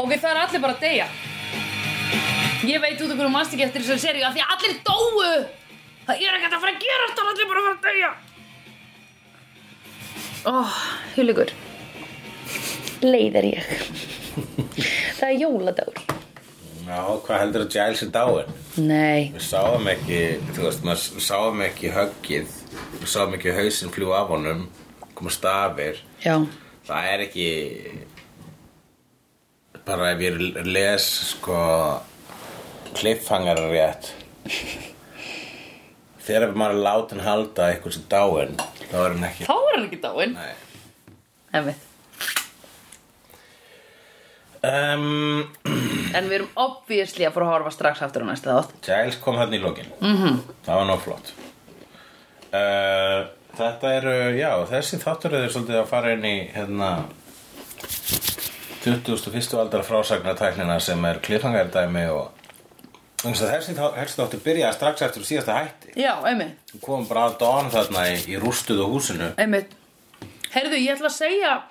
og við fæðum allir bara að deyja ég veit út okkur og mannst ekki eftir þessari seríu af því að allir dóu það er ekkert að fara að gera þetta allir bara að fara að deyja óh, hulugur leið er ég það er jóladagur Já, hvað heldur að Giles er dáin? nei, Við sáum ekki, þú veist, maður sáum ekki höggið, við sáum ekki hausinn fljú af honum, koma stafir. já, Það er ekki, bara ef ég les, sko, kliffhangar rétt. Þegar maður er látin halda að eitthvað sem dáin, þá er hann ekki. þá er hann ekki dáin Nei. Einmitt. Um, en við erum obviously að fara að horfa strax aftur á næsta þátt Giles kom hérna í lokin -hmm. Mhm. Það var nóg flott uh, Þetta eru, já, þessi þáttur er svolítið að fara inn í hérna 21. aldar frásagnartæknina sem er klifangardæmi og Þannig að þessi þá- þessi þáttur byrjaði strax eftir síðasta hætti já, einmitt Við komum bara að Dawn þarna í, í rústuðu húsinu Einmitt. Herðu, ég ætla að segja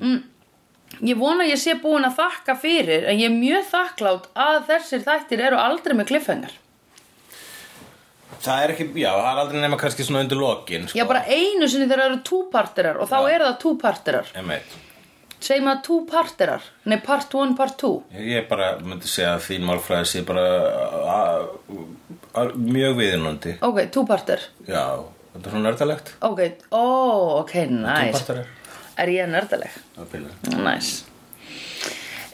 mm, ég vona að ég sé búin að þakka fyrir en ég er mjög þakklátt að þessir þættir eru aldrei með kliffhengar Það er ekki, já, það er aldrei nema kannski svona undir lokin sko. Já, bara einu sinni þegar það eru túparterar og þá Já. eru það túparterar Einmitt. segjum að túparterar, nei part 1, part 2 Ég bara myndi segja að þín málfræði sé bara a- a- a- mjög viðinandi ok, túparter, Já, þetta er svona nördalegt ok, ó, ok, næs Túpartar er er ég nördaleg? Það byrjar. Næs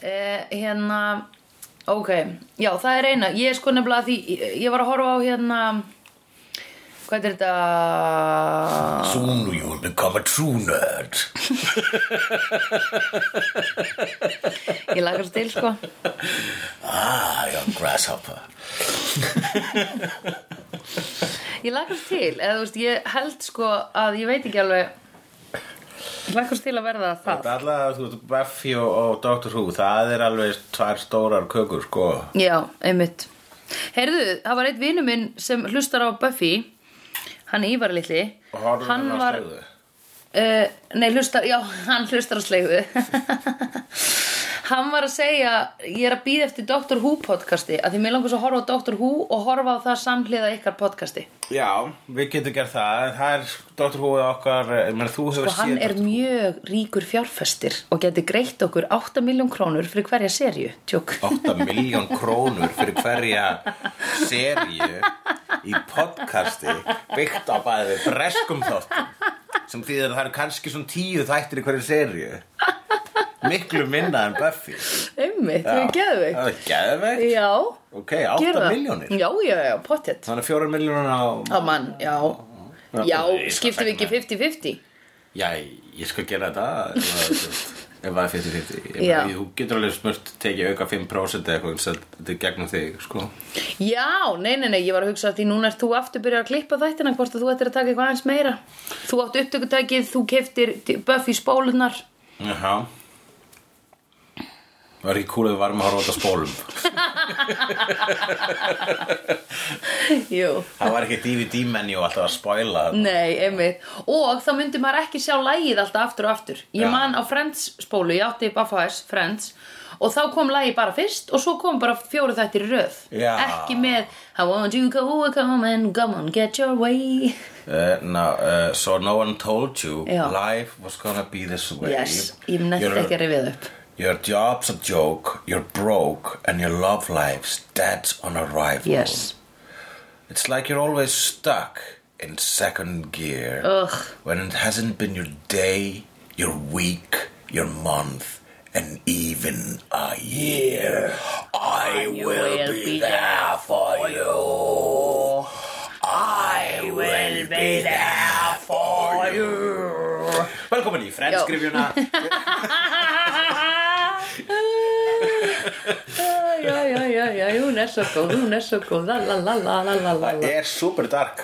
Ah, eh, Hérna Ok, já það er eina Ég er sko nefnilega því ég- Ég var að horfa á hérna Hvað er þetta? Soon you will become a true nerd Ég lagast til sko Ah, you're a grasshopper Ég lagast til Eða þú veist, ég held sko að ég veit ekki alveg Ég lagast til að verða það Þetta er allavega, þú veist, Buffy og, og Doctor Who Það er alveg tvær stórar kökur, sko Já, einmitt Heyrðu, það var einn vinur minn sem hlustar á Buffy Hann er Ívar litli Og horfum Hann hennar var hérna stöðu. Uh, nei, hlustar, já, hann hlustar á sleifu Hann var að segja Ég er að býða eftir Dr. Who podcasti að Því mér langar svo að horfa á Dr. Who Og horfa á það samhliða ykkar podcasti Já, við getum gert það En það er Doctor Who okkar ég meina, Þú hefur Og Sko, hann séð er mjög ríkur fjárfestir Og geti greitt okkur 8 miljón krónur Fyrir hverja serju, tjók 8 miljón krónur fyrir hverja seríu í podcasti byggt á bæði breskum þáttum sem þýðir að það eru kannski svona tíu þættir í hverju seríu miklu minna en Buffy Einmitt, þau geðveik Það er geðveikt? Já, Ok, 8 gera það. miljónir Já, já, já, pottet Þannig 4 miljónir á Á mann, já Já, Nei, skiptum við það ekki 50-50 Já, ég skal gera þetta ef að- ef það er 50-50 Ég Já. meina, Þú getur alveg smurt tekið auka 5% eða eitthvað sem þetta er gegnum þig sko. Já, nei, nei, nei, ég var að hugsa að því núna ert þú aftur byrjað að klippa þættina hvort að þú ættir að taka eitthvað aðeins meira Þú átt upptökutækið, þú keftir Buffy spólunar Jaha Það var ekki cool að við varum að horfa á þetta spólum Jú Það var ekki DVD-menjú alltaf að spoila þetta. Nei, einmitt Og þá myndi maður ekki sjá lægið alltaf aftur og aftur Ég Já. man á Friends spólu, ég átti Buffa S, Friends Og þá kom lægið bara fyrst og svo kom bara fjóru þættir í röð Já. Ekki með I want you go, come and come on, get your way Uh, no, uh, so no one told you Já. Life was gonna be this way Yes, ég nefnt Your- ekki að rifið upp Your job's a joke, you're broke And your love life's dead on arrival Yes, It's like you're always stuck in second gear Ugh. When it hasn't been your day, your week, your month And even a year I will, will be, be there for you I will be there for you Velkomin í Já. frenskrifjuna já, já, já, já, hún er svo góð, hún er svo góð, la la la la la la la Það la er super dark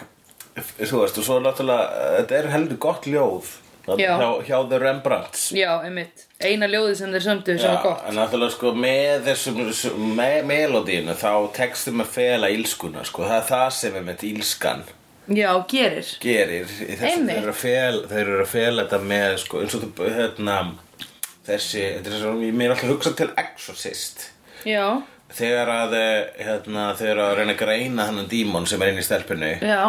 Þú veist, og svo náttúrulega eh, Þetta er heldur gott ljóð Já. hjá, hjá The Rembrandts Já, einmitt, eina ljóðið sem þeir sömdu sem er gott en náttúrulega sko með þessum þessum- me melodínu þá textum að fela ílskuna sko, það er það sem er með ílskan Já, gerir gerir í þessu, Einmitt. þeir eru að fela, þeir eru að fela þetta með sko, eins og þú, hérna þessi, þetta er svo, mér er alltaf hugsað til Exorcist Já, þegar að, eh, hérna, þegar að reyna að greina þannig dímon sem er inn í stelpunni já,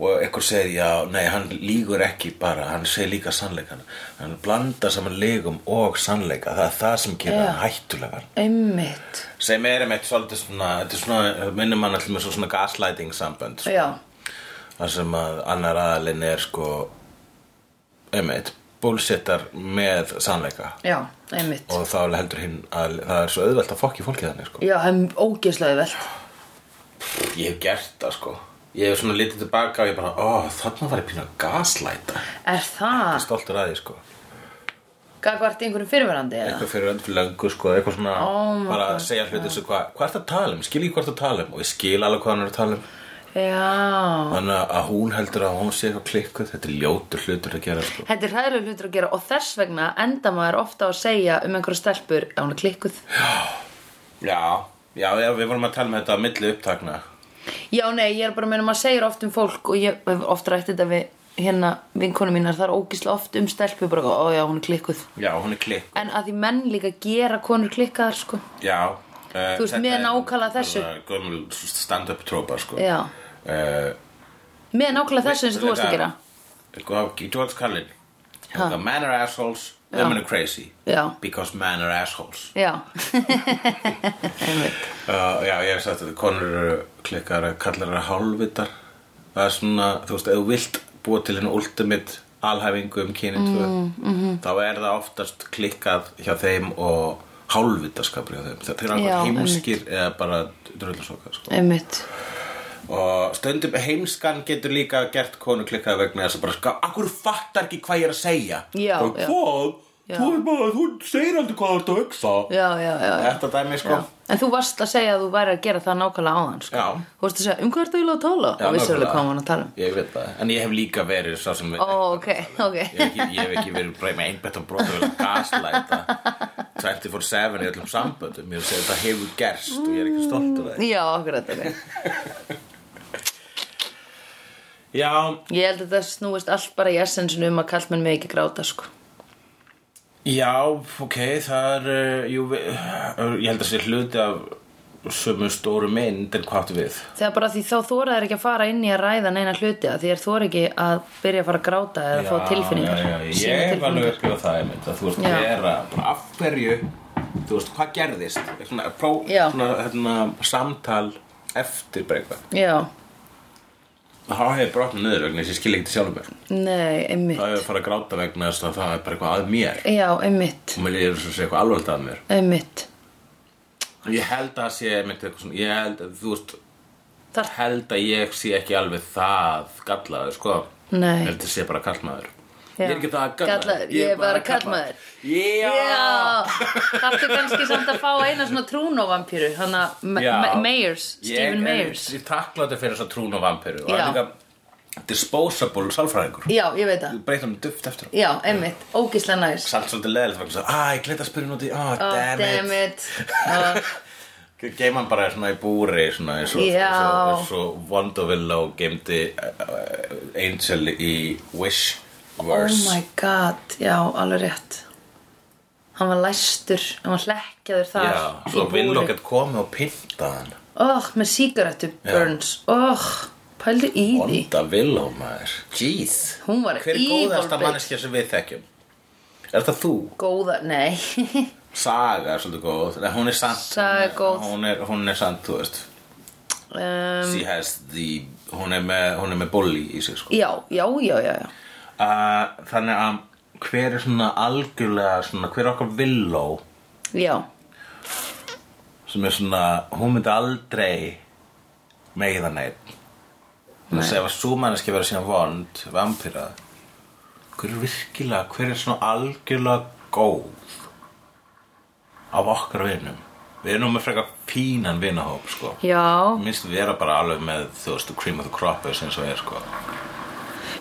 og einhver segir, já, nei, hann lígur ekki bara, hann segir líka sannleikan hann blandar saman legum og sannleika, það er það sem gerir Já. hann hættulegar einmitt sem er einmitt svolítið svona, þetta er svona minnum hann allir með svo svona gaslighting sambönd sko, Já, þar sem að annar aðalinn er sko einmitt, bullshittar með sannleika já, einmitt og þá heldur hinn að það er svo auðvelt að fokki fólkið þannig sko Já, en ógeðslega velt ég hef gert það sko ég hef svona litið tilbaka og ég bara, ó, þarna var ég pínu að gaslæta Er það stoltur að því sko gagvart einhverjum fyrirverandi eða? eitthvað fyrir öll löngu sko, eitthvað svona Oh my bara að segja hluti sem hvað, hvað er það að tala um, skil ég hvað er það að tala um og ég skil alveg hvað hann er að tala um Já þannig að hún heldur að hún sé eitthvað klikkuð þetta er ljótur hlutur að gera sko Þetta er hræðilega hlutur að gera og þess vegna enda maður ofta á að segja um einhverju stelpur að hún er klikkuð já, já, já við vorum að tala um þetta að milli upptakna Já, nei, ég er bara að meina maður segir oft um fólk og ég hef oft rætt þetta við hérna vinkonu mínar þar ógeðslega oft um stelpur bara, ó já, hún er klikkuð já, hún er klikk, En að því menn líka gera konur klikkaðar, sko já uh, Þú veist, með nákvæmlega þessu. gömul stand-up trópa sko Já, uh, með nákvæmlega þessu eins og þú varst að gera Go, George Carlin The men are assholes, women are crazy Já. Because men are assholes Já Einmitt uh, Já, ég hef sagt þetta Konur eru klikkar, kallar eru hálfvitar Það er svona, þú veist, ef þú vilt búa til einu ultimate alhæfingu um kynin tvö Mm, mhm. þá er það oftast klikkað hjá þeim og hálfvitaskapur hjá þeim þeir eru Já, alveg einmitt. heimskir eða bara dröðlasoka sko. Einmitt og stundum heimskan getur líka gert konu klikkaði vegna þess að bara sko, akkur fattar ekki hvað ég er að segja Já, og já. hvað, Já. þú, er bara, þú segir aldrei hvað þú ert að hugsa Já, já, já, já. þetta dæmi sko Já. En þú varst að segja að þú væri að gera það nákvæmlega áðan sko. Já. Þú varst að segja, um hvað ertu eiginlega að tala? Já, og vissir alveg nákvæmlega. hvað hann að tala um ég veit það, en ég hef líka verið sá sem Ó, ok, ok ég, hef ekki, ég hef ekki verið bara með einbett á brot og gaslæta 24-7 í öllum samböndum ég hef segið þetta hefur gerst og ég er ekki stoltur af það Já, akkurat ok já, Ég held að það snúist allt bara í essensinu um að kallmenn með ekki gráta sko. Já, ok, það er, uh, jú, við- uh, ég held að sé hluti af sömu stóru mynd en hvað áttu við? Þegar bara því þá þóra þær ekki að fara inn í að ræða neina hluti að því er þóra ekki að byrja að fara að gráta eða fá tilfinningar Já, já, já, Sýna ég hef alveg tilfinningar. upplifað það, ég mynd, að þú veist Já. að vera, bara af hverju, þú veist, hvað gerðist? Svona, pró, Já. svona, hérna, samtal eftir bara eitthvað. Já, Það hefur brotnað niður vegna þess að ég skil ekki til sjálfur mér. nei, einmitt Það hefur farið að gráta vegna þess að það er bara eitthvað að mér. Já, einmitt, Og mér líður svo að segja eitthvað alveg að mér. einmitt Ég held að það sé einmitt eitthvað svona, ég held að þú veist, Þar, held að ég sé ekki alveg það gallaður, sko. Nei. Ég held að sé bara kallmaður. Já. Ég er ekki það gallaður. Gallaður, ég er bara karlmaður. Já. Já, þarftu kannski samt að fá eina svona trúnóvampíru Hanna Já. Mayers, Stephen Ég er- Mayers Ég takla þetta fyrir þess að trún og vampiru. Og Já. hann líka disposable sálfræðingur. Já, ég veit það Breytum duft eftir á. Já, einmitt, ógislega næs Samt svolítið leðilegt vegna þess að, að, ég gleyta að spyrja núti, að, Oh, damn, damn it. it Ah, Já, Geim hann bara svona í búri, svona eins og, Já. eins og, eins og Wonderville og geimdi uh, Angel í Oh Wish-verse. my god, já, alveg rétt Hann var læstur, hann var hlekkjaður þar Já, í svo búri. Villogget komi og pynta hann Oh, með sígarettu burns Oh, pældu í því Onda Villó maður Jeez Hún var Hver er evil góðasta bitch. manneskja sem við þekkjum? Er það þú? Góða, nei Saga er svolítið góð Nei, hún er sant Saga er góð. Hún er, hún er sant, þú veist um, She has the Hún er með, hún er með bolli í sig sko. Já, já, já, já, já uh, Þannig að Hver er svona algjörlega svona, Hver er okkar Villó Já, Sem er svona Hún myndi aldrei Meiða neitt Þannig að segja að svo manneskja verið síðan vond Vampýrað hver er virkilega, hver er svona algjörlega góð af okkar vinum við erum nú með frekar fínan vinahóp sko. já minnst við erum bara alveg með þú veist, the cream of the crop eins og er sko.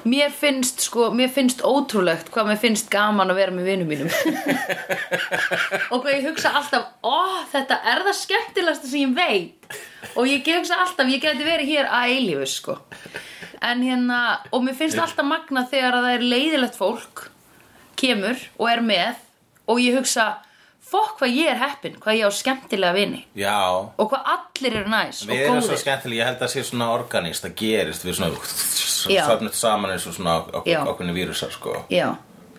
Mér finnst sko, mér finnst ótrúlegt hvað mér finnst gaman að vera með vinum mínum og hvað ég hugsa alltaf ó, þetta er það skemmtilegasta sem ég veit og ég hugsa alltaf, ég geti verið hér að eilífu sko en hérna, og mér finnst alltaf magna þegar að það er leiðilegt fólk kemur og er með og ég hugsa fokk hvað ég er heppin, hvað ég á skemmtilega vini Já, og hvað allir eru næs og við erum svo góðir skemmtilega, ég held að sé svona organist, það gerist við svona Já. söfnum saman eins og svona Já. okkur, okkurni vírusar sko. Já.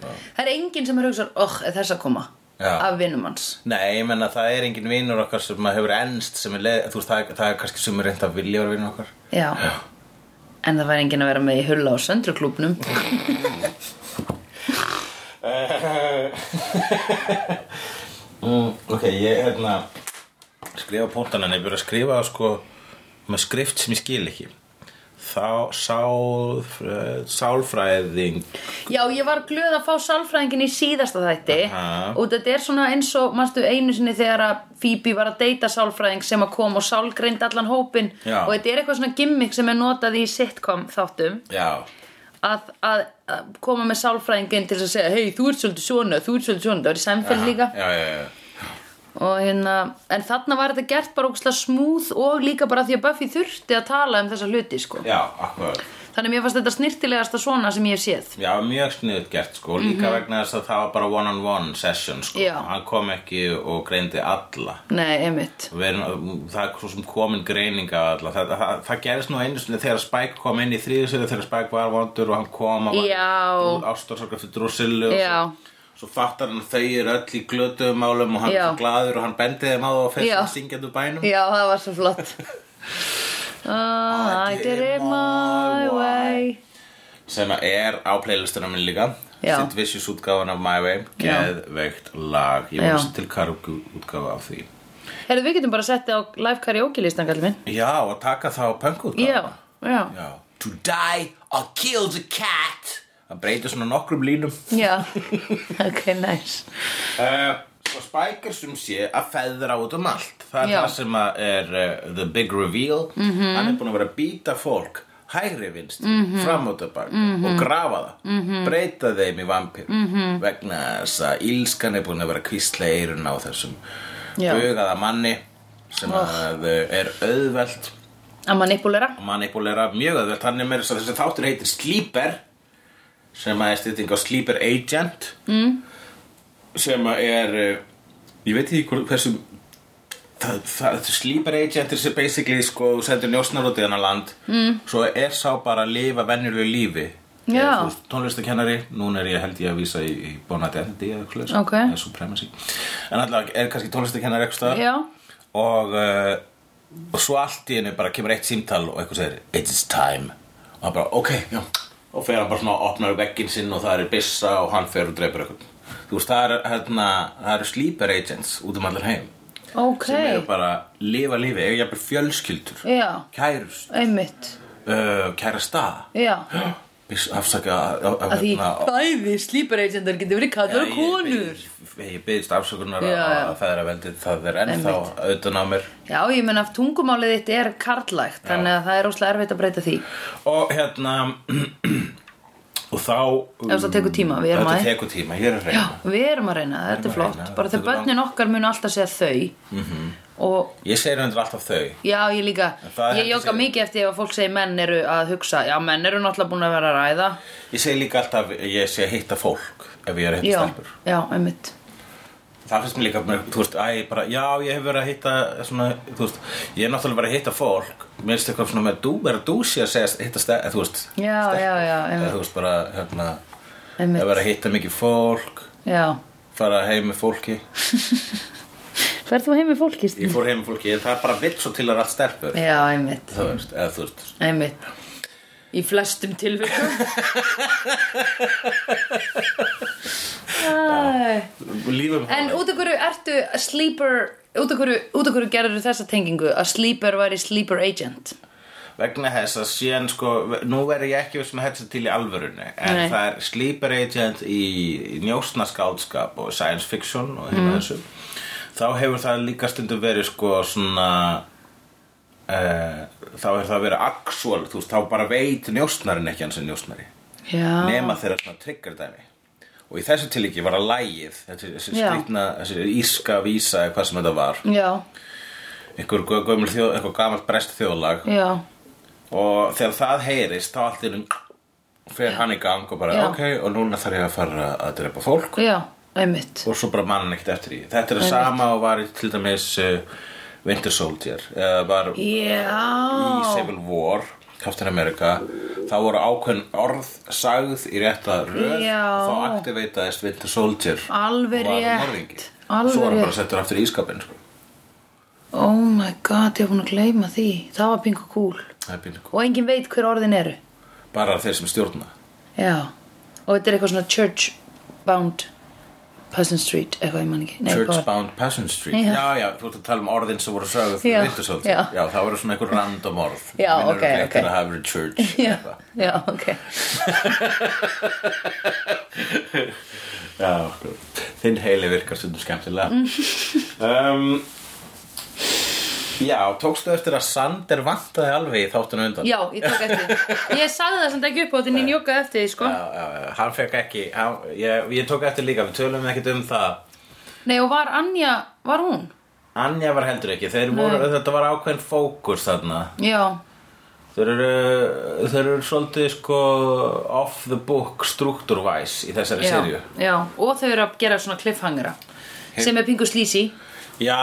Það er enginn sem er hugsað, oh, er þess að koma Já. af vinnum hans. Nei, ég menna það er engin vinur okkar sem maður hefur ennst sem er leið, þú veist, það, er- það er kannski sem er reynd að vilja vera vinur okkar. Já. En það var enginn að vera með í hulla á söndruklúbnum. Mm, ok, ég hérna skrifa póntan en ég byrja að skrifa sko með skrift sem ég skil ekki. Þá sál, sálfræðing, Já, ég var glöð að fá salfræðingin í síðasta þætti Aha. og þetta er svona eins og, manstu, einu sinni þegar að Phoebe var að deyta salfræðing sem að kom og sálgreind allan hópin Já. og þetta er eitthvað svona gimmick sem er notað í sitcom þáttum já, að, að, að koma með sálfræðingin til að segja, hei, þú ert svolítið svona, þú ert svolítið svona, það var í Aha, sæmfell líka. já, já, já. og hérna, en þarna var þetta gert bara ógslag smúð og líka bara því að Buffy þurfti að tala um þessa hluti sko. Já, akkurat. þannig mér fannst þetta snirtilegasta svona sem ég hef séð Já, mjög sniðut gert sko, líka vegna þess að það var bara one-on-one session sko. Mhm. Já. Hann kom ekki og greindi alla. nei, einmitt Við Erum, það er svo sem komin greininga alla. Það, það, það gerist nú einu sinni þegar Spike kom inn í þriðisöðu, þegar Spike var vondur og hann kom að Já. ástarsorg eftir Drusillu. og Já. Svo, svo fattar hann að þau eru öll í glötuðum málum og hann Já. er svo glaður og hann bendi þeim á það og Já. fyrir syngjandi bænum. já, það var svo flott oh, I did it my way sem er á playlistunum minn líka Já. Sid Vicious útgáfan af My Way Já. geðveikt lag ég Já. veist til karaoke útgáfa af því heyrðu, við getum bara sett þetta á live karaoke listan kallið minn já og taka þá punk út já, já, já to die or kill the cat það breytir svona nokkrum línum já ok, nice uh, svo Spike er sem sé að feðra út um allt það er Já. Mhm. það sem að er uh, the big reveal -hmm. hann er búin að vera að býta fólk hægri vinst, mm -hmm. fram og tilbaka Mhm. og grafa það, -hmm. breyta þeim í vampir -hmm. vegna þess að ílskan er búin að vera kvísla eirun á þessum Já. Oh. bugaða manni sem að uh, er auðvelt að manipulera að manipulera mjög auðvelt hann er meira þess að þessi þáttur heitir Sleeper sem að er stytting á Sleeper Agent mm. sem að er eh, ég veit ekki hvort- hversu það, það, Sleeper Agent er sem basically sko þú sendur njósnar út í þennan land mm. svo er sá bara að lifa venjulegu lífi Já. Eða, þú veist, tónlistakennari, núna er ég held ég að vísa í, í Bon Identity eða eitthvað Ok. eða Supremacy en allavega er kannski tónlistakennari eitthvað staðar já, og, uh, og svo allt í henni bara kemur eitt símtal og eitthvað segir it is time og hann bara ok, já og fer hann bara svona og opnar vegginn sinn og það er byssa og hann fer og dreipur eitthvað þú veist, það eru hérna, það eru sleeper agents út um allar heim ok sem eru bara að lifa lífi, eiga jafnvel fjölskyldur já, kærust, einmitt uh, kærasta já Byss- afsaka hérna, að því af, bæði slípar agentar getur verið kallar ég- konur ég, ég byggðist afsökunar Já, já. að feðra veldið það er ennþá Einmitt. auðvitað á mér Já, ég menn að tungumálið þitt er karlægt þannig að það er óslega erfitt að breyta því og hérna og þá Ef það tekur tíma, við erum þetta að- tekur tíma, ég er að reyna Við erum að reyna, það, þetta er að flott reyna, bara þetta þegar er langt. börnin okkar munu alltaf segja þau og ég segir undir alltaf þau já, ég líka En það er ég hægt að jóka segja. mikið eftir ef að fólk segir menn eru að hugsa já, menn eru náttúrulega búin að vera að ræða ég segir líka alltaf, ég sé að hitta fólk ef ég er að hitta Já, stelpur já, einmitt það finnst mér líka, mér- þú veist, æ, ég bara já, ég hef verið að hitta svona, þú veist ég er náttúrulega verið að hitta fólk mér finnst eitthvað svona með dú, verið að dúsi að segja hitta steg, þú veist Já, stelpur. já, já, einmitt. Eða, þú veist, bara, hérna Einmitt. að vera að hitta mikið fólk Já, fara heim með fólki verð þú heim í fólkist? ég fór heim með fólki, en það er bara vill svo til að rætt stelpur Já, einmitt, þú veist, eða þú veist einmitt Í flestum tilvikum Æ lífum En út af hverju ertu sleeper út af hverju, út af hverju gerður þessa tengingu að sleeper væri sleeper agent vegna þess að síðan sko nú verður ég ekki sem þetta til í alvörunni en Nei. það er sleeper agent í njósna skáldskap og science fiction og Mhm. hérna þessu þá hefur það líka stundum verið sko svona uh, þá hefur það verið actual þú veist, þá bara veit njósnarinn ekki hans er njósnari Já, nema þeirra svona trigger dæmi og í þessu tilíki var að lægið þessi, þessi Já. skrýtna, þessi íska vísa eða hvað sem þetta var já, einhver gö- gömul þjóð, eitthvað gamalt brest þjóðlag já, og þegar það heyrist þá allt í einu fer hann í gang og bara Já. ok og núna þarf ég að fara að drepa fólk já, einmitt og svo bara mann ekkert eftir því þetta er það sama og var í til dæmis uh, Winter Soldier eða var í Já Civil War Captain America þá voru ákveðin orð sagð í rétta röð Já. og þá aktiveitaðist Winter Soldier Alveg og var rétt. morðingi. Alveg svo var hann bara rétt. settur aftur í ískapin sko. Oh my god, ég er búin að gleyma því Það var pingu cool Það er pínu kúl. Og enginn veit hver orðin eru bara þeir sem stjórna Já Og þetta er eitthvað svona church bound Person Street, eitthvað ég man ekki Nei, hvað var- Churchbound Passion Street Já. já. já, þú ert að tala um orðin sem voru sögð Já. fyrir Winter Soldier Já. það voru svona einhver random orð Já, ok, Minnir örugglega ok. eftir að hafa verið church Já, eitthvað. já, ok Já, sko. þinn heili virkar stundum skemmtilega um, Já, tókstu eftir að Sander vantaði alveg í þáttinu undan Já, ég tók eftir Ég sagði það samt ekki upp á þetta en ég joggaði eftir því, sko já, já, já, hann fekk ekki hann, ég, ég tók eftir líka, við tölum ekkert um það Nei, og var Anja, var hún? Anja var heldur ekki, þeir voru, þetta var ákveðin fókus þarna Já, Þeir eru, þeir eru svolítið sko off the book structure-wise í þessari já, serju já Og þau eru að gera svona cliffhangera Sem er pingu slísi Já,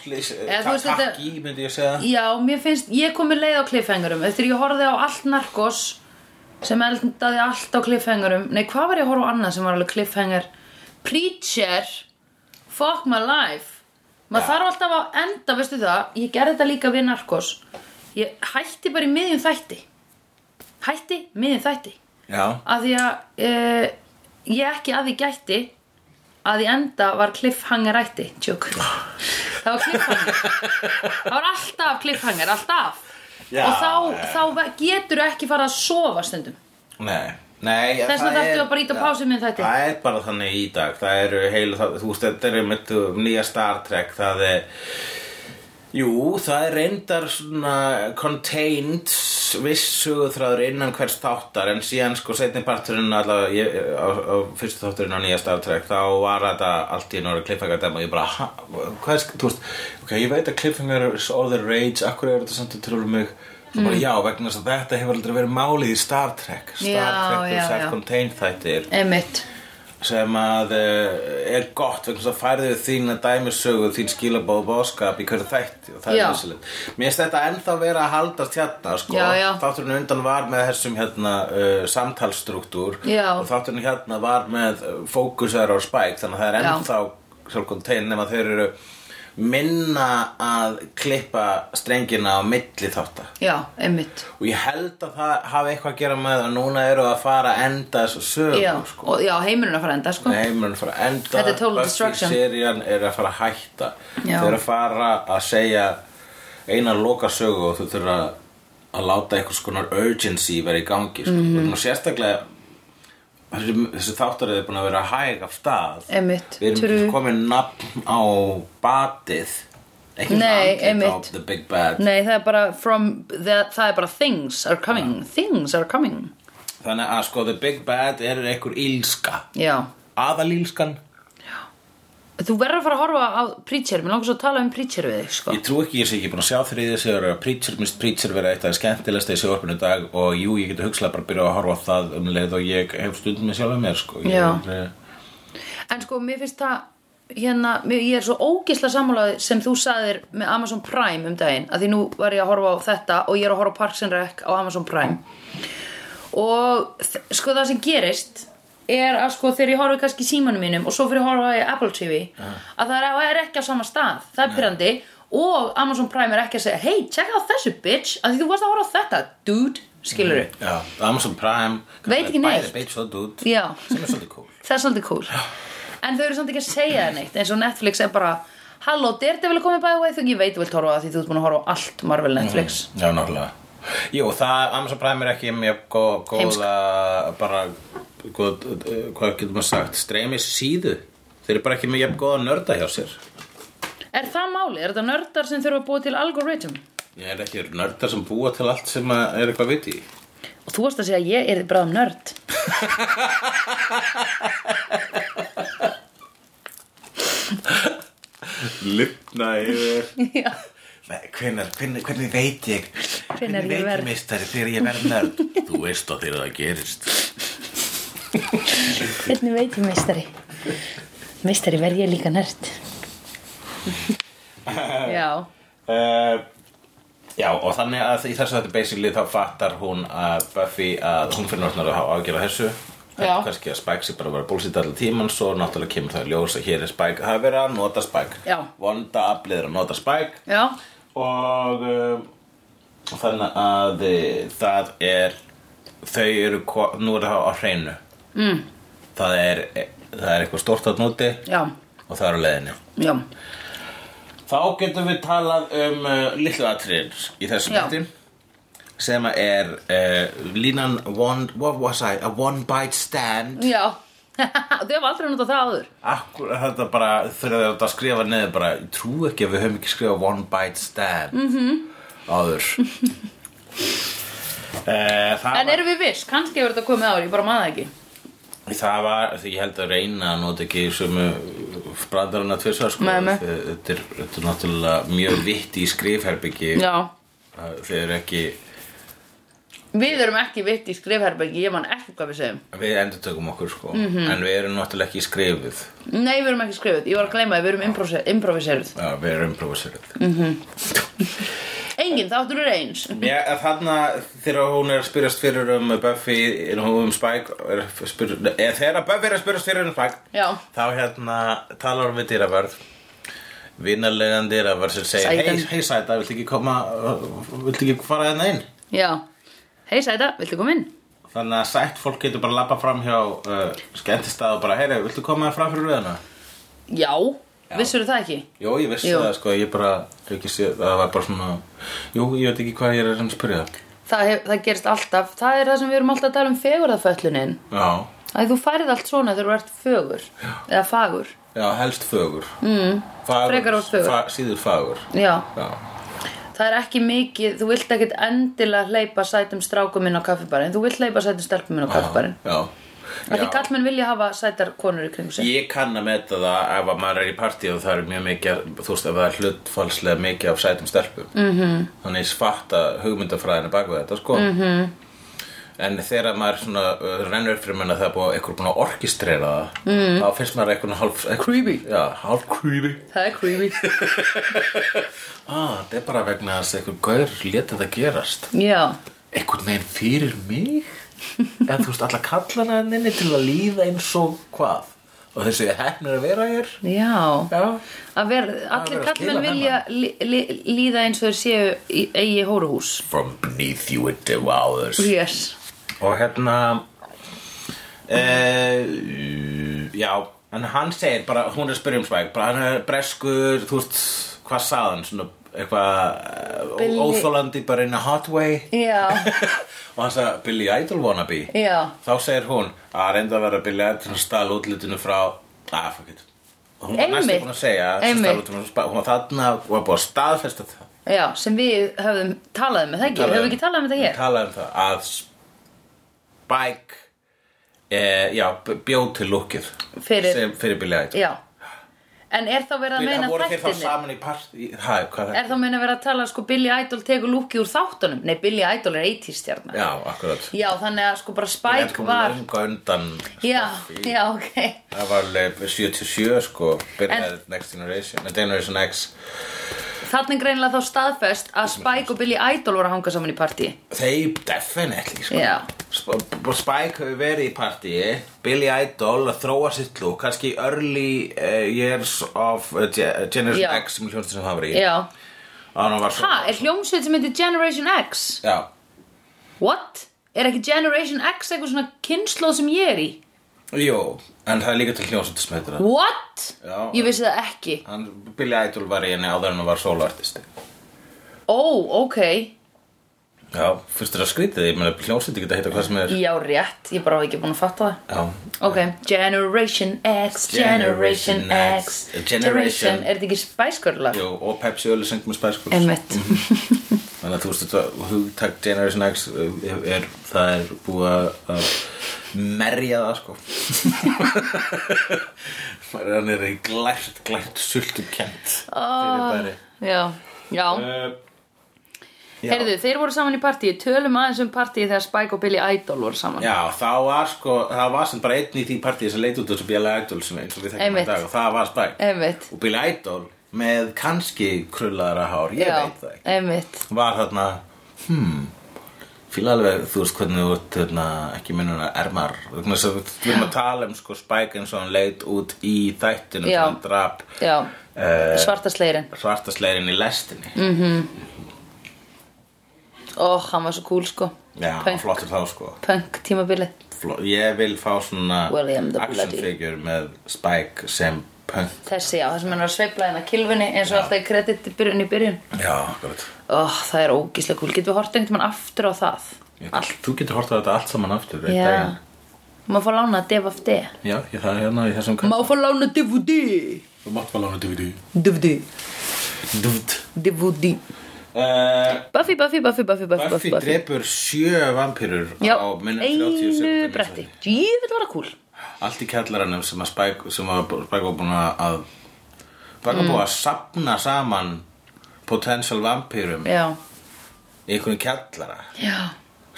slís, Eða ta þú veist þetta- takki myndi ég segja Já, mér finnst, ég kom með leið á cliffhangerum Eftir ég horfði á allt narkos Sem eldaði allt á cliffhangerum Nei, hvað var ég að horfa á annað sem var alveg cliffhanger Preacher Fuck my life Maður þarf alltaf að enda, veistu það Ég gerði þetta líka við narkos Ég hætti bara í miðjum þætti Hætti, miðjum þætti Já, að því að uh, ég ekki að því gætti að í enda var cliffhanger ætti tjók það var cliffhanger það var alltaf cliffhanger, alltaf Já, og þá, já. þá ve- getur ekki fara að sofa stundum nei, nei ja, Þess vegna það er- þarftu að bara ýta á já. pásu með þetta. Það er bara þannig í dag, það eru heil, það, þú veist, þetta er með nýja Star Trek, það er Jú, það er reyndar svona contained vissuðræður innan hvers þáttar en síðan sko setni parturinn allavega, ég, á, á fyrstu þátturinn á nýja Star Trek þá var þetta allt í nára kliffengar dem og ég bara, ha, hvað er, sk- þú veist ok, ég veit að kliffengar is all the rage akkur er þetta samt að trúlega mig mm. bara, já, vegna þess að þetta hefur aldrei verið málið í Star Trek Star Já, Trek já, er já. self-contained þættir einmitt sem að uh, er gott vegna þess að færðu þín að dæmisögu þín skilabóð bóðskap í hverju þætti og það Já. er vissilegt mér finnst þetta ennþá vera að haldast hérna sko. Já, já. þátturinn undan var með þessum hérna, uh, samtalsstruktúr Já. og þátturinn hérna var með uh, fókusar á spæk þannig að það er Já. ennþá sjálfkontein nema þeir eru minna að klippa strengina á milli þáttar já, einmitt og ég held að það hafi eitthvað að gera með að núna eru að fara að enda þessu sögu já, sko. og, já heimurinn að fara að enda sko Nei, mun fara að enda Þetta er total destruction. Serían er að fara að hætta Þau Já. eru að fara að segja eina loka sögu og þau þurfa að láta einhvers konar urgency vera í gangi sko. Mhm. mm -hmm. Sérstaklega þessi, þessi þáttar er búin að vera hæg af stað Einmitt. Við erum Eh, True. ekki komin nafn á batið Ekki Nei, nafn á einmitt. The Big Bad Nei, það er bara from, það, það er bara things are coming, things are coming Þannig að sko The Big Bad er einhver ílska Já, Aðalílskan þú verður að fara að horfa á Preacher, mér langar svo að tala um Preacher við þig sko Ég trú ekki, ég sé ekki búin að sjá þriðið sem eru að Preacher, minnst Preacher vera eitt af skemmtilegsta í sjóarpinu í dag og jú, ég geti hugslega bara að byrja að horfa á það um leið og ég hef stund með sjálf mér, sko. Ég, Já. er- En sko, mér finnst það hérna, mér, ég er svo ógisla sammálaði sem þú saðir með Amazon Prime um daginn að því nú var ég að horfa á þetta og ég er að horfa á Parks and Rec á Amazon Prime og þ- sko það sem gerist er að sko þegar ég horfi kannski í símanum mínum og svo fyrir að horfa í Apple TV að það er, er ekki á sama stað, það er pyrrandi og Amazon Prime er ekki að segja hey, check out þessu bitch, að því þú varst að horfa á þetta dude, skilur Já, Amazon Prime. Veit ekki neitt. Bæði beitt svo dút. Já. Sem er svolítið cool. það er svolítið cool en þau eru samt ekki að segja það neitt eins og Netflix er bara halló, Daredevil er komið bæði way þú ég veit þú vilt horfa á það því þú ert búin að horfa á allt Marvel Netflix Já, náttúrulega. Jú, það, Amazon Prime er ekki mjög góð, góða, bara, góð, hvað getur maður sagt, streymis síðu. Þeir eru bara ekki mjög góða nörda hjá sér. er það máli, er þetta nördar sem þurfa að búa til algoritm Ég er ekki nördar sem búa til allt sem að er eitthvað viti í. og þú varst að segja að ég er bráðum nörd Lugna yfir. Já. Nei, Hvenær, hvenær, hvernig veit ég Hvenær ég verð- mistari þegar ég verð nörd Þú veist að þegar það gerist hvernig veit ég meistari Meistari verð ég líka nert Já Uh, já, og þannig að í þessu þetta basically þá fattar hún að Buffy að hún fyrir náttúrulega að hafa ágjörða þessu Já. kannski að Spike sé bara að vera búlsýtt allir tíman svo náttúrulega kemur það í ljós að hér er Spike það er verið að nota Spike Já. vonda aflið er að nota Spike Já og um, þannig að eh, það er þau eru ko- nú er það á hreinu mm. það er e, það er eitthvað stórt að núti Já og það er á leiðinni Já Þá getum við talað um uh, litlu atriðin í þessum Já. hætti sem að er uh, línan one, what was I, a one bite stand Já Þau hafa aldrei notað það áður Akkur þetta bara þegar þetta að skrifa neður bara ég trú ekki að við höfum ekki skrifað one bite stand mm -hmm. Mhm. áður uh, það, En var, erum við viss, kannski hefur þetta komið áður, ég bara maður það ekki það var því ég held að reyna að nota ekki sömu brandarana tvisvar sko Nei, nei. Þe- þetta er, þetta er náttúrulega mjög vitt í skrifherbyggi Já þeir eru ekki Við erum ekki vitt í skrifherbergi, ég man ekki hvað við segjum Við endurtökum okkur sko Mhm. En við erum náttúrulega ekki skrifuð Nei, við erum ekki skrifuð, ég var að gleyma því, við erum improse- improviseruð Já, eh, Við erum improviserað mm. Engin þáttur er eins Já, þarna þegar hún er að spyrjast fyrir um Buffy En hún um Spike er að spyr, eða, Þegar Buffy er að spyrjast fyrir um Spike Já Þá hérna talar hún við dýravörð Vinarlegan dýravörð sem segir Sætan. Hei, hei sæta, viltu ekki koma uh, Viltu ekki fara hérna inn Já Hei Sæta, viltu koma inn? Þannig að sætt fólk getur bara að labba fram hjá uh, Skemmtistað og bara Heyri, viltu koma fram fyrir við hana Já, Já. Vissur það ekki? Jó, ég vissi Jú. það, sko, ég bara, ég ekki sé, það var bara svona, jú, ég veit ekki hvað ég er að reyna að spyrja það. Það, hef, það gerist alltaf, það er það sem við erum alltaf að tala um fegurðaföllunin Já, að þú færið allt svona þegar þú ert fögur eða fagur já, helst fögur. Mm, fagur, frekar oft fögur. Fa, síður fagur, Já. já. það er ekki mikið, þú vilt ekkit endilega hleypa sætum strákum inn á kaffibarinn þú vilt hleypa sætum stelpum inn á kaffibarinn Já. ekki kallmenn vilja hafa sætar konur í kringu sig Ég kann að meta það ef að maður er í partí og það er mjög mikið, þú veist, ef það er hlutfalslega mikið af sætum stelpum. Mm Mhm. -hmm. Þannig ég fatta hugmyndafræðinu bak við þetta, sko. Mm -hmm. Mhm. En þegar maður svona uh, rennur upp fyrir manna það er búið eitthvað búin að orkistrera það, mm. þá finnst maður eitthvað hálf... eitthvað- Mhm. Creepy. Já, hálf creepy. það er creepy Ah, það er bara vegna þess að einhver gaur leti það gerast. Já, Einhvern veginn fyrir mig? Eða þú veist, alla kallana henninni til að líða eins og hvað? Og þessi hefnir að vera hér? já Já. að vera, allir verið að kallmenn skila vilja li, li, líða eins og þeir séu í eigi hóruhús From beneath you into others. yes, Og hérna... E, já, en hann segir bara, hún er að spyrja um spæk, bara hann er breskur, þú veist, hvað sagði hann, svona eitthvað eh, Billy- óþolandi bara in a hot way já, og hann sagði Billy Idol wannabe já Þá segir hún að reynda að vera Billy Edson stál útlitinu frá ah, fuck it Hún var Einmitt. næstu búin að segja að Einmitt. stál útlitinu frá Spá- Hún var þarna og var búin að staðfesta það Já, sem við höfum talað um, er það ekki, höfum við ekki talað um þetta hér? Talað um það að Spike eh, Já, b- bjó til lukkið Fyrir- Sem, fyrir Billy Edson Já En er þá verið að meina um. voru þeir þá þættinni? saman í part í, hæ, hvað er Er það? þá meina verið að tala sko Billy Idol tegur lúkið úr þáttunum? Nei, Billy Idol er 80 stjarnar Já, akkurat Já, þannig að sko bara Ég er Spike sko var löngu undan Já, Buffy. já, ok Það var alveg 77 sko Byrjaði Next Generation eh, Generation X Þannig greinilega þá staðfest að um Spike og Billy Idol voru að hanga saman í partí Þeir definitely sko Já, Sp- B- Spike hefur verið í partíi Billy Idol að þróa sitt lúk kannski early uh, years of uh, Ge- uh, Generation Já. X sem hljónstin sem það var í já hann var svo Ha, er hljómsveit sem heitir Generation X? já, What? Er ekki Generation X eitthvað svona kynnslóð sem ég er í? jú, en það er líka til hljónstin sem heitir það What? Já. Ég vissi það ekki hann, Billy Idol var í henni áður en hann var soloartisti Ó, ok já, fyrst þér að skrítið ég meina hljónstin geta heita hvað sem er Já, rétt, ég bara var ekki búin að fatta það já, Ok, Generation X, Generation X Generation X, Generation, er þetta ekki Spice Girl lag? jú, og Pepsi Öli sengt með Spice Girls Einmitt Þannig að þú veist þetta hugtak Generation X er, er, það er búið að merja það sko Maður hann er í glært, Ah. glært sultu kent Eh, Já, já uh, Já. Heyrðu, þeir voru saman í partíi, tölum aðeins um partíi þegar Spike og Billy Idol voru saman Já, það var sko, það var sem bara einn í því partíð sem leit út þessu Billy Idol sem eins og við þekkjum Einmitt. í dag og það var Spike Einmitt og Billy Idol með kannski krullaðara hár, ég Já, veit það ekki einmitt var þarna, hmm fíla alveg, þú veist hvernig þú ert þarna, ekki minnuna ermar vegna þess að við við erum að tala um sko Spike eins og hann leit út í þættinu Já. þegar hann drap Já, uh, svarta sleirin svartasleirin í lestinni mm. Ó, hann var svo cool sko Já, Punk, flottur þá sko punk tímabilið Fló- Ég vil fá svona William the action Bloody. figure með Spike sem punk Þessi, já, það sem hann er að sveifla hérna kilfunni eins og alltaf í kreditbyrjun í byrjun Já, akkurat Ó, það er ógíslega cool, getum við hort einhvern mann aftur á það allt. Þú getur hortað þetta allt saman aftur einn Já daginn. Má fá lána DVD Já, ég það er hérna í þessum Má fá lána DVD Þú mátt fara lána DVD DVD Dúft DVD uh, Buffy, Buffy, Buffy, Buffy, Buffy, Buffy Buffy, drepur sjö vampýrur Já, á minna 30 einu sekúndum. bretti Jöfell var það cool Allt í kjallaranum sem að Spike, sem að Spike var búin að Spike var Mm. búin að sapna saman potential vampýrum í Já, einhvern kjallara já,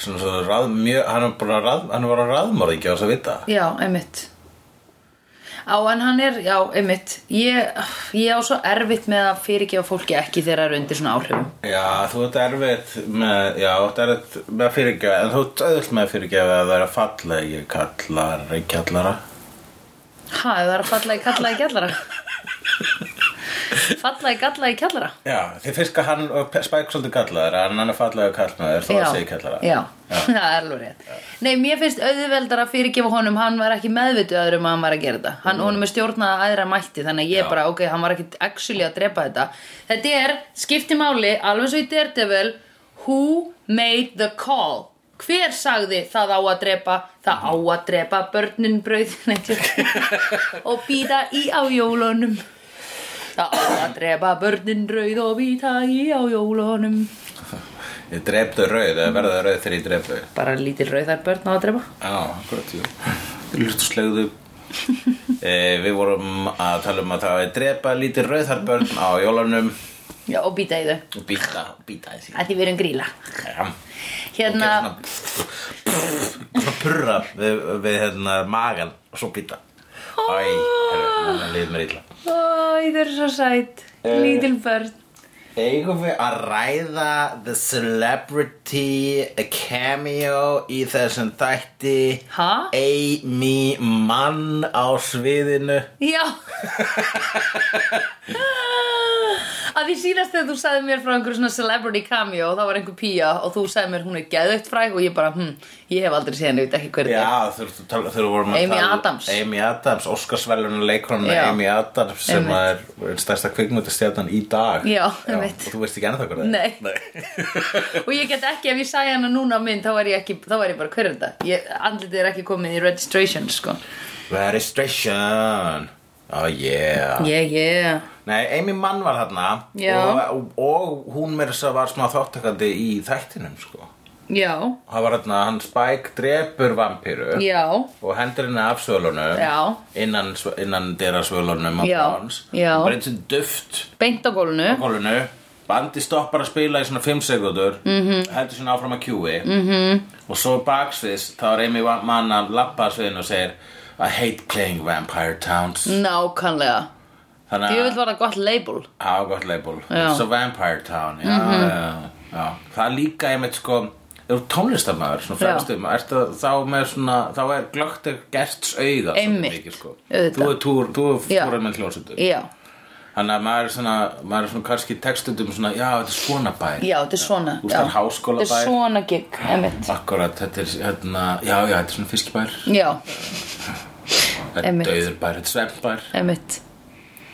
Svona svo ráð mjög, hann var bara ráð, hann var að ráðmorð ekki á þess að vita það. já, einmitt Á, en hann er, já, einmitt Ég, ég á svo erfitt með að fyrirgefa fólki ekki þegar það er undir svona áhrifum Já, þú ert erfitt með, já, þú ert erfitt með að fyrirgefa, en þú ert auðvilt með að fyrirgefa að það er að falla í kallar, í kallara. Ha, ef það er að falla í kalla í kjallara Falla í kalla í kjallara Já, þið finnst að hann og Spike svolítið kallar, en hann er falla í kallmaður, þú ert að segja kallara. já, það er alveg rétt Nei, mér finnst auðveldar að fyrirgefa honum Hann var ekki meðvituð aður um að hann var að gera þetta Hann honum er stjórnað aðra mætti Þannig að ég Mhm. Já. bara, ok, hann var ekki actually að drepa þetta Þetta er, skipti máli, alveg svo í Daredevil Who made the call? Hver sagði það á að drepa, það á að drepa börnin brauð Nei, tjók. og býta í á jólunum Það á að drepa börnin brauð og býta í á jólunum Ég dreptu rauð, eða verða rauð þegar ég dreptu. bara lítil rauðar börn á að drepa Já, akkurat, jú. Lústu slegðu. e, við vorum að tala um að það er drepa lítið rauðarbörn á jólanum Já, og býta í þau, og býta, býta þessi. að því við erum gríla Já. Hérna, og gera svona svona purra við, við hérna magan og svo býta Æ, hérna líður mér illa ó, þau eru svo sæt Lítil börn Eigum við að ræða the celebrity cameo í þessum þætti Ha? Amy Mann á sviðinu Já Að því síðast þegar þú sagði mér frá einhverju svona celebrity cameo og þá var einhver pía og þú sagði mér hún er geðveikt fræg og ég bara, hm, ég hef aldrei séð henni, ég veit ekki hver þetta er Já, þurftu tala, þurftu vorum að Amy tala um Adams. Amy Adams, Óskarsverlun leikonu Já. Amy Adams sem er Einmitt. stærsta kvikmyndastjarnan í dag Já, einmitt. og þú veist ekki annað það hvað það Nei. er Nei Og ég get ekki, ef ég sagði hana núna á mynd þá var ég, ekki, þá var ég bara, hver er þetta? Ég- Andlitið er ekki komið í registration, sko Registration Oh yeah Yeah, yeah Nei, Amy Mann var þarna Já. og, og hún meira þess að var smá þáttakandi í þættinum sko Já, Það var þarna, hann Spike drepur vampíru já og hendur henni af svölunum Já. innan, sv- innan dyrra svölunum Já, já. bara eins og duft Beint á á gólunu gólfinu Bandi stoppar að spila í svona 5 sekúndur Mhm. -hmm. Heldur svona áfram að kjúi -hmm. Og svo baksviðs Þá er Amy mann að lappa að sviðinu og segir I hate playing Vampire Towns Nákvæmlega Þannig Mm. Djöfull að var það gott label hafa gott label Já. Mhm. It's a Vampire Town já, já, já. Það er líka einmitt sko Þú eru tónlistamæður, svona Já. fremstum ertu, þá, með svona, þá er glögt er gersts auga svolítið Einmitt, mikið, sko. auðvitað. Þú er túr, þú er Já. fórar með hljónsutur Já, Þannig að maður er svona, maður er svona kannski textundum svona, já, þetta er svona bær. já, þetta er svona Þú veist, það er já. háskólabær. Ah. Þetta er svona gig, emitt Akkurat, þetta er, hérna, já, já, þetta er svona fiskibær, Já, þetta er Einmitt. dauðurbær, þetta er svefnbær. emitt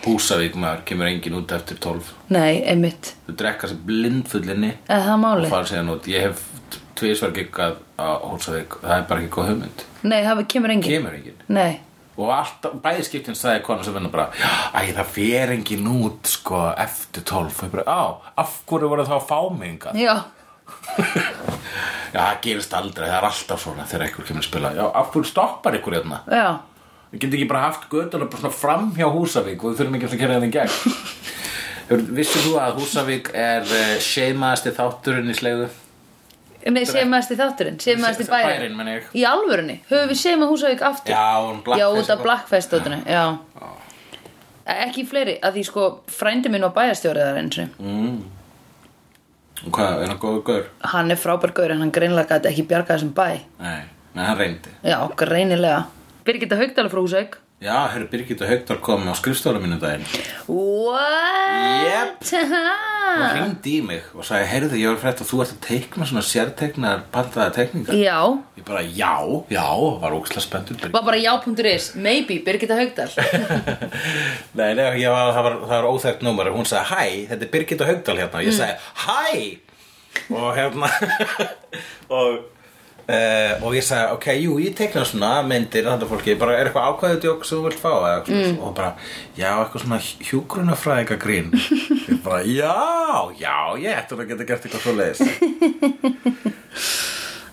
Húsavík maður, kemur engin út eftir 12. Nei, emitt Þú drekka sér blindfullinni Eða það er og máli fara síðan út. Ég hef tvisvar giggað á Húsavík, það er bara ekki góð hugmynd. Nei, það kemur engin Kemur engin. Nei, Og alltaf, bæði skiptin sagði konan sem vinna bara Æ, það fer engin út, sko, eftir 12. Og ég bara, á, af hverju voru þá að fá mig hingað? já, Já, það gerist aldrei, það er alltaf svona þegar einhver kemur að spila. Já, af hverju stoppar ykkur hérna? já Við getum ekki bara haft göttuna bara svona fram hjá Húsavík og við þurfum ekki alltaf að kæra það í gegn. Hefur- Vissir þú að Húsavík er uh, seimaðasti þátturinn í slegu? Nei, sémaðast í þátturinn, sémaðast í Se- bærin bærinn, meina ég. Í alvörunni, höfum við sémað Húsavík aftur Já, um sko. hún Blackfest Já, út af og- Blackfest dótinu, já Ah. E, Ekki fleiri, að því sko frændi minn var bæjarstjórið þar eins og Mm. Og Hvað, er hann góður gaur? Hann er frábær gaur en hann greinlega gæti ekki bjarga þessum bæ Nei, nei, hann reyndi Já, greinilega Birgitta Haugdala frá Húsavík Já, herru Birgitta Haugdal kom á skrifstofunum mínu daginn What? Hún Ha? hringdi í mig og sagði, heyrðu, ég var frétt að þú ert að teikna svona sérteknar pantaða tekningar Já, Ég bara, já, já, var óksla spenntur Birgitta var bara já.is Maybe, Birgitta Haugdal Nei, nei, ég var, það, var, það var óþægt númer Hún sagði, hæ, þetta er Birgitta Haugdal hérna Ég sagði, hæ Og hérna Og Uh, og ég sagði, ok, jú, ég tekna svona myndir þetta fólki, bara er eitthvað ákvæðið djók sem þú vilt fá eða, mm. og bara, já, eitthvað svona hjúgrunafræðinga grín ég bara, já, já, ég ætti nú að geta gert eitthvað svo leiðis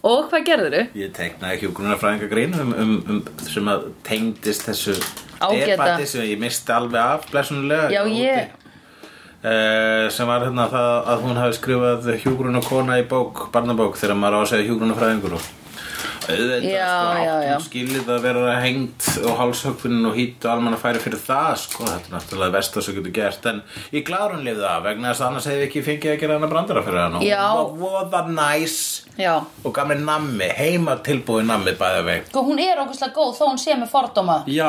Og hvað gerðurðu? ég teknaði hjúgrunafræðinga grín um, um, um, sem að tengdist þessu Ágæta. debatti sem ég misti alveg af blessunulega Já, úti. ég- Eh, sem var hérna það að hún hafi skrifað hjúgrun og kona í bók, barnabók þegar maður á að segja hjúgrun og fræðingur og auðvitað Já, sko, já, já. skilið að vera hengt og hálshökvinn og hýtt og almanna færi fyrir það sko, þetta er náttúrulega versta sem getur gert en ég gláður hún lifði af vegna þess að annars hefði við ekki fengið að gera hana brandara fyrir hana Já. hún var voða næs Já og gaf mér nammi, heima tilbúið nammi bæða veg Sko, hún er ógustlega góð þó hún sé með fordóma Já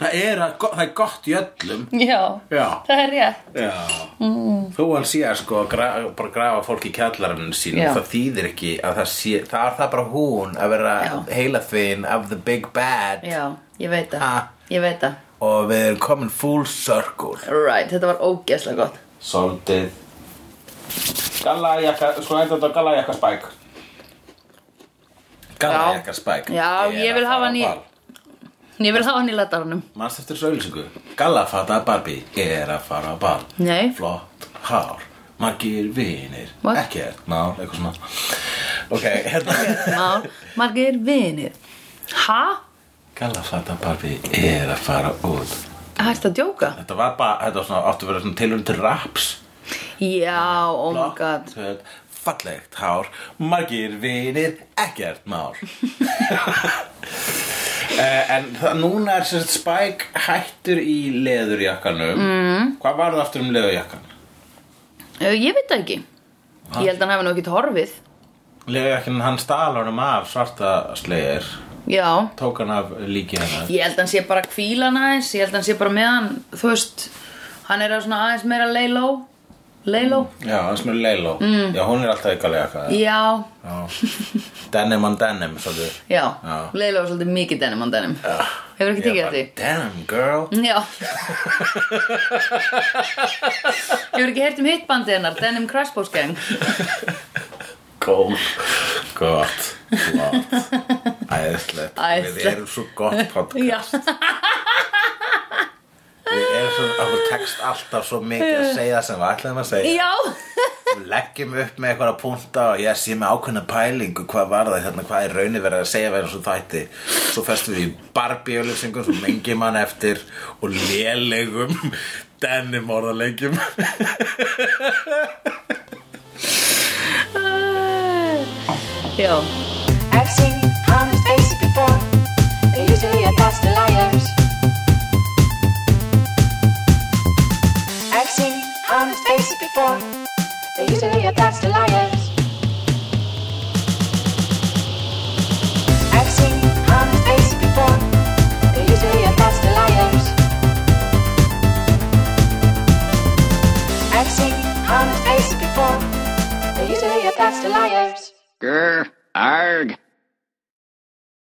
Það er, að, það er gott í öllum Já, Já. það er rétt Já, Mm. þó hann sé að sko gra, bara grafa fólk í kjallarinn sínum Já. það þýðir ekki að það sé það er það bara hún að vera Já. heila þvín of the big bad Já, ég veit það Ha. Ég veit það og við erum komin full circle Right, þetta var ógeðslega gott Soldið Gallajakka, sko heitir þetta gallajakka spæk Gallajakka spæk Já, er ég að vil fara hafa á hann í- ball. Ég vil hafa hann í letaranum Manst eftir þessu auðlýsingu Gallafata Barbie er að fara á ball Nei. Flott hár Margir vinir What? Ekkert mál Eitthvað svona Ok, hérna Mál, margir vinir Ha? Gallafata Barbie er að fara út Hægt að djóka? Þetta var bara Þetta var svona Áttu að vera svona tilhörn til raps Já, oh my god föt, Fallegt hár Margir vinir Ekkert mál Eh, En það, núna er sérst Spike hættur í leðurjakkanum mm. Hvað var það aftur um leðurjakkan? Ö, Eh, Ég veit það ekki Ég held að hann hafi nú ekkert horfið Leðurjakkan hann stal honum af svarta slegir Já tók hann af líki hennar Ég held að hann sé bara kvílan aðeins Ég held að hann sé bara með hann Þú veist, hann er að svona aðeins meira lay low Lay low? Já, hans með Leilo mm. Já, hún er alltaf ykkur leika Já, Denim on denim, svolítið já, Já. lay low er svolítið mikið denim on denim Hefur ekki Ég tekið bara, að því? Denim, girl Já Hefur ekki heyrt um hitt bandið hennar Denim Crashbox Gang Góð Gott, flott Æðislegt Æðislegt. Við erum svo gott Já, podcast Við erum svo, okkur tekst alltaf svo mikið að segja sem við ætlaðum að segja já Við leggjum upp með eitthvað að punta og ég sé með ákveðna pælingu hvað var það hérna, hvað er raunir verið að segja verið svo þætti svo festum við í barbíulegsingum svo mengjum hann eftir og lélegum denim orðalegjum Já, I've seen honest faces before. They usually are past the liars. I've seen honest faces before. They usually are past the liars. I've seen honest faces before. They usually are past the liars. I've seen honest faces before. They usually are past the liars. Grr, arg.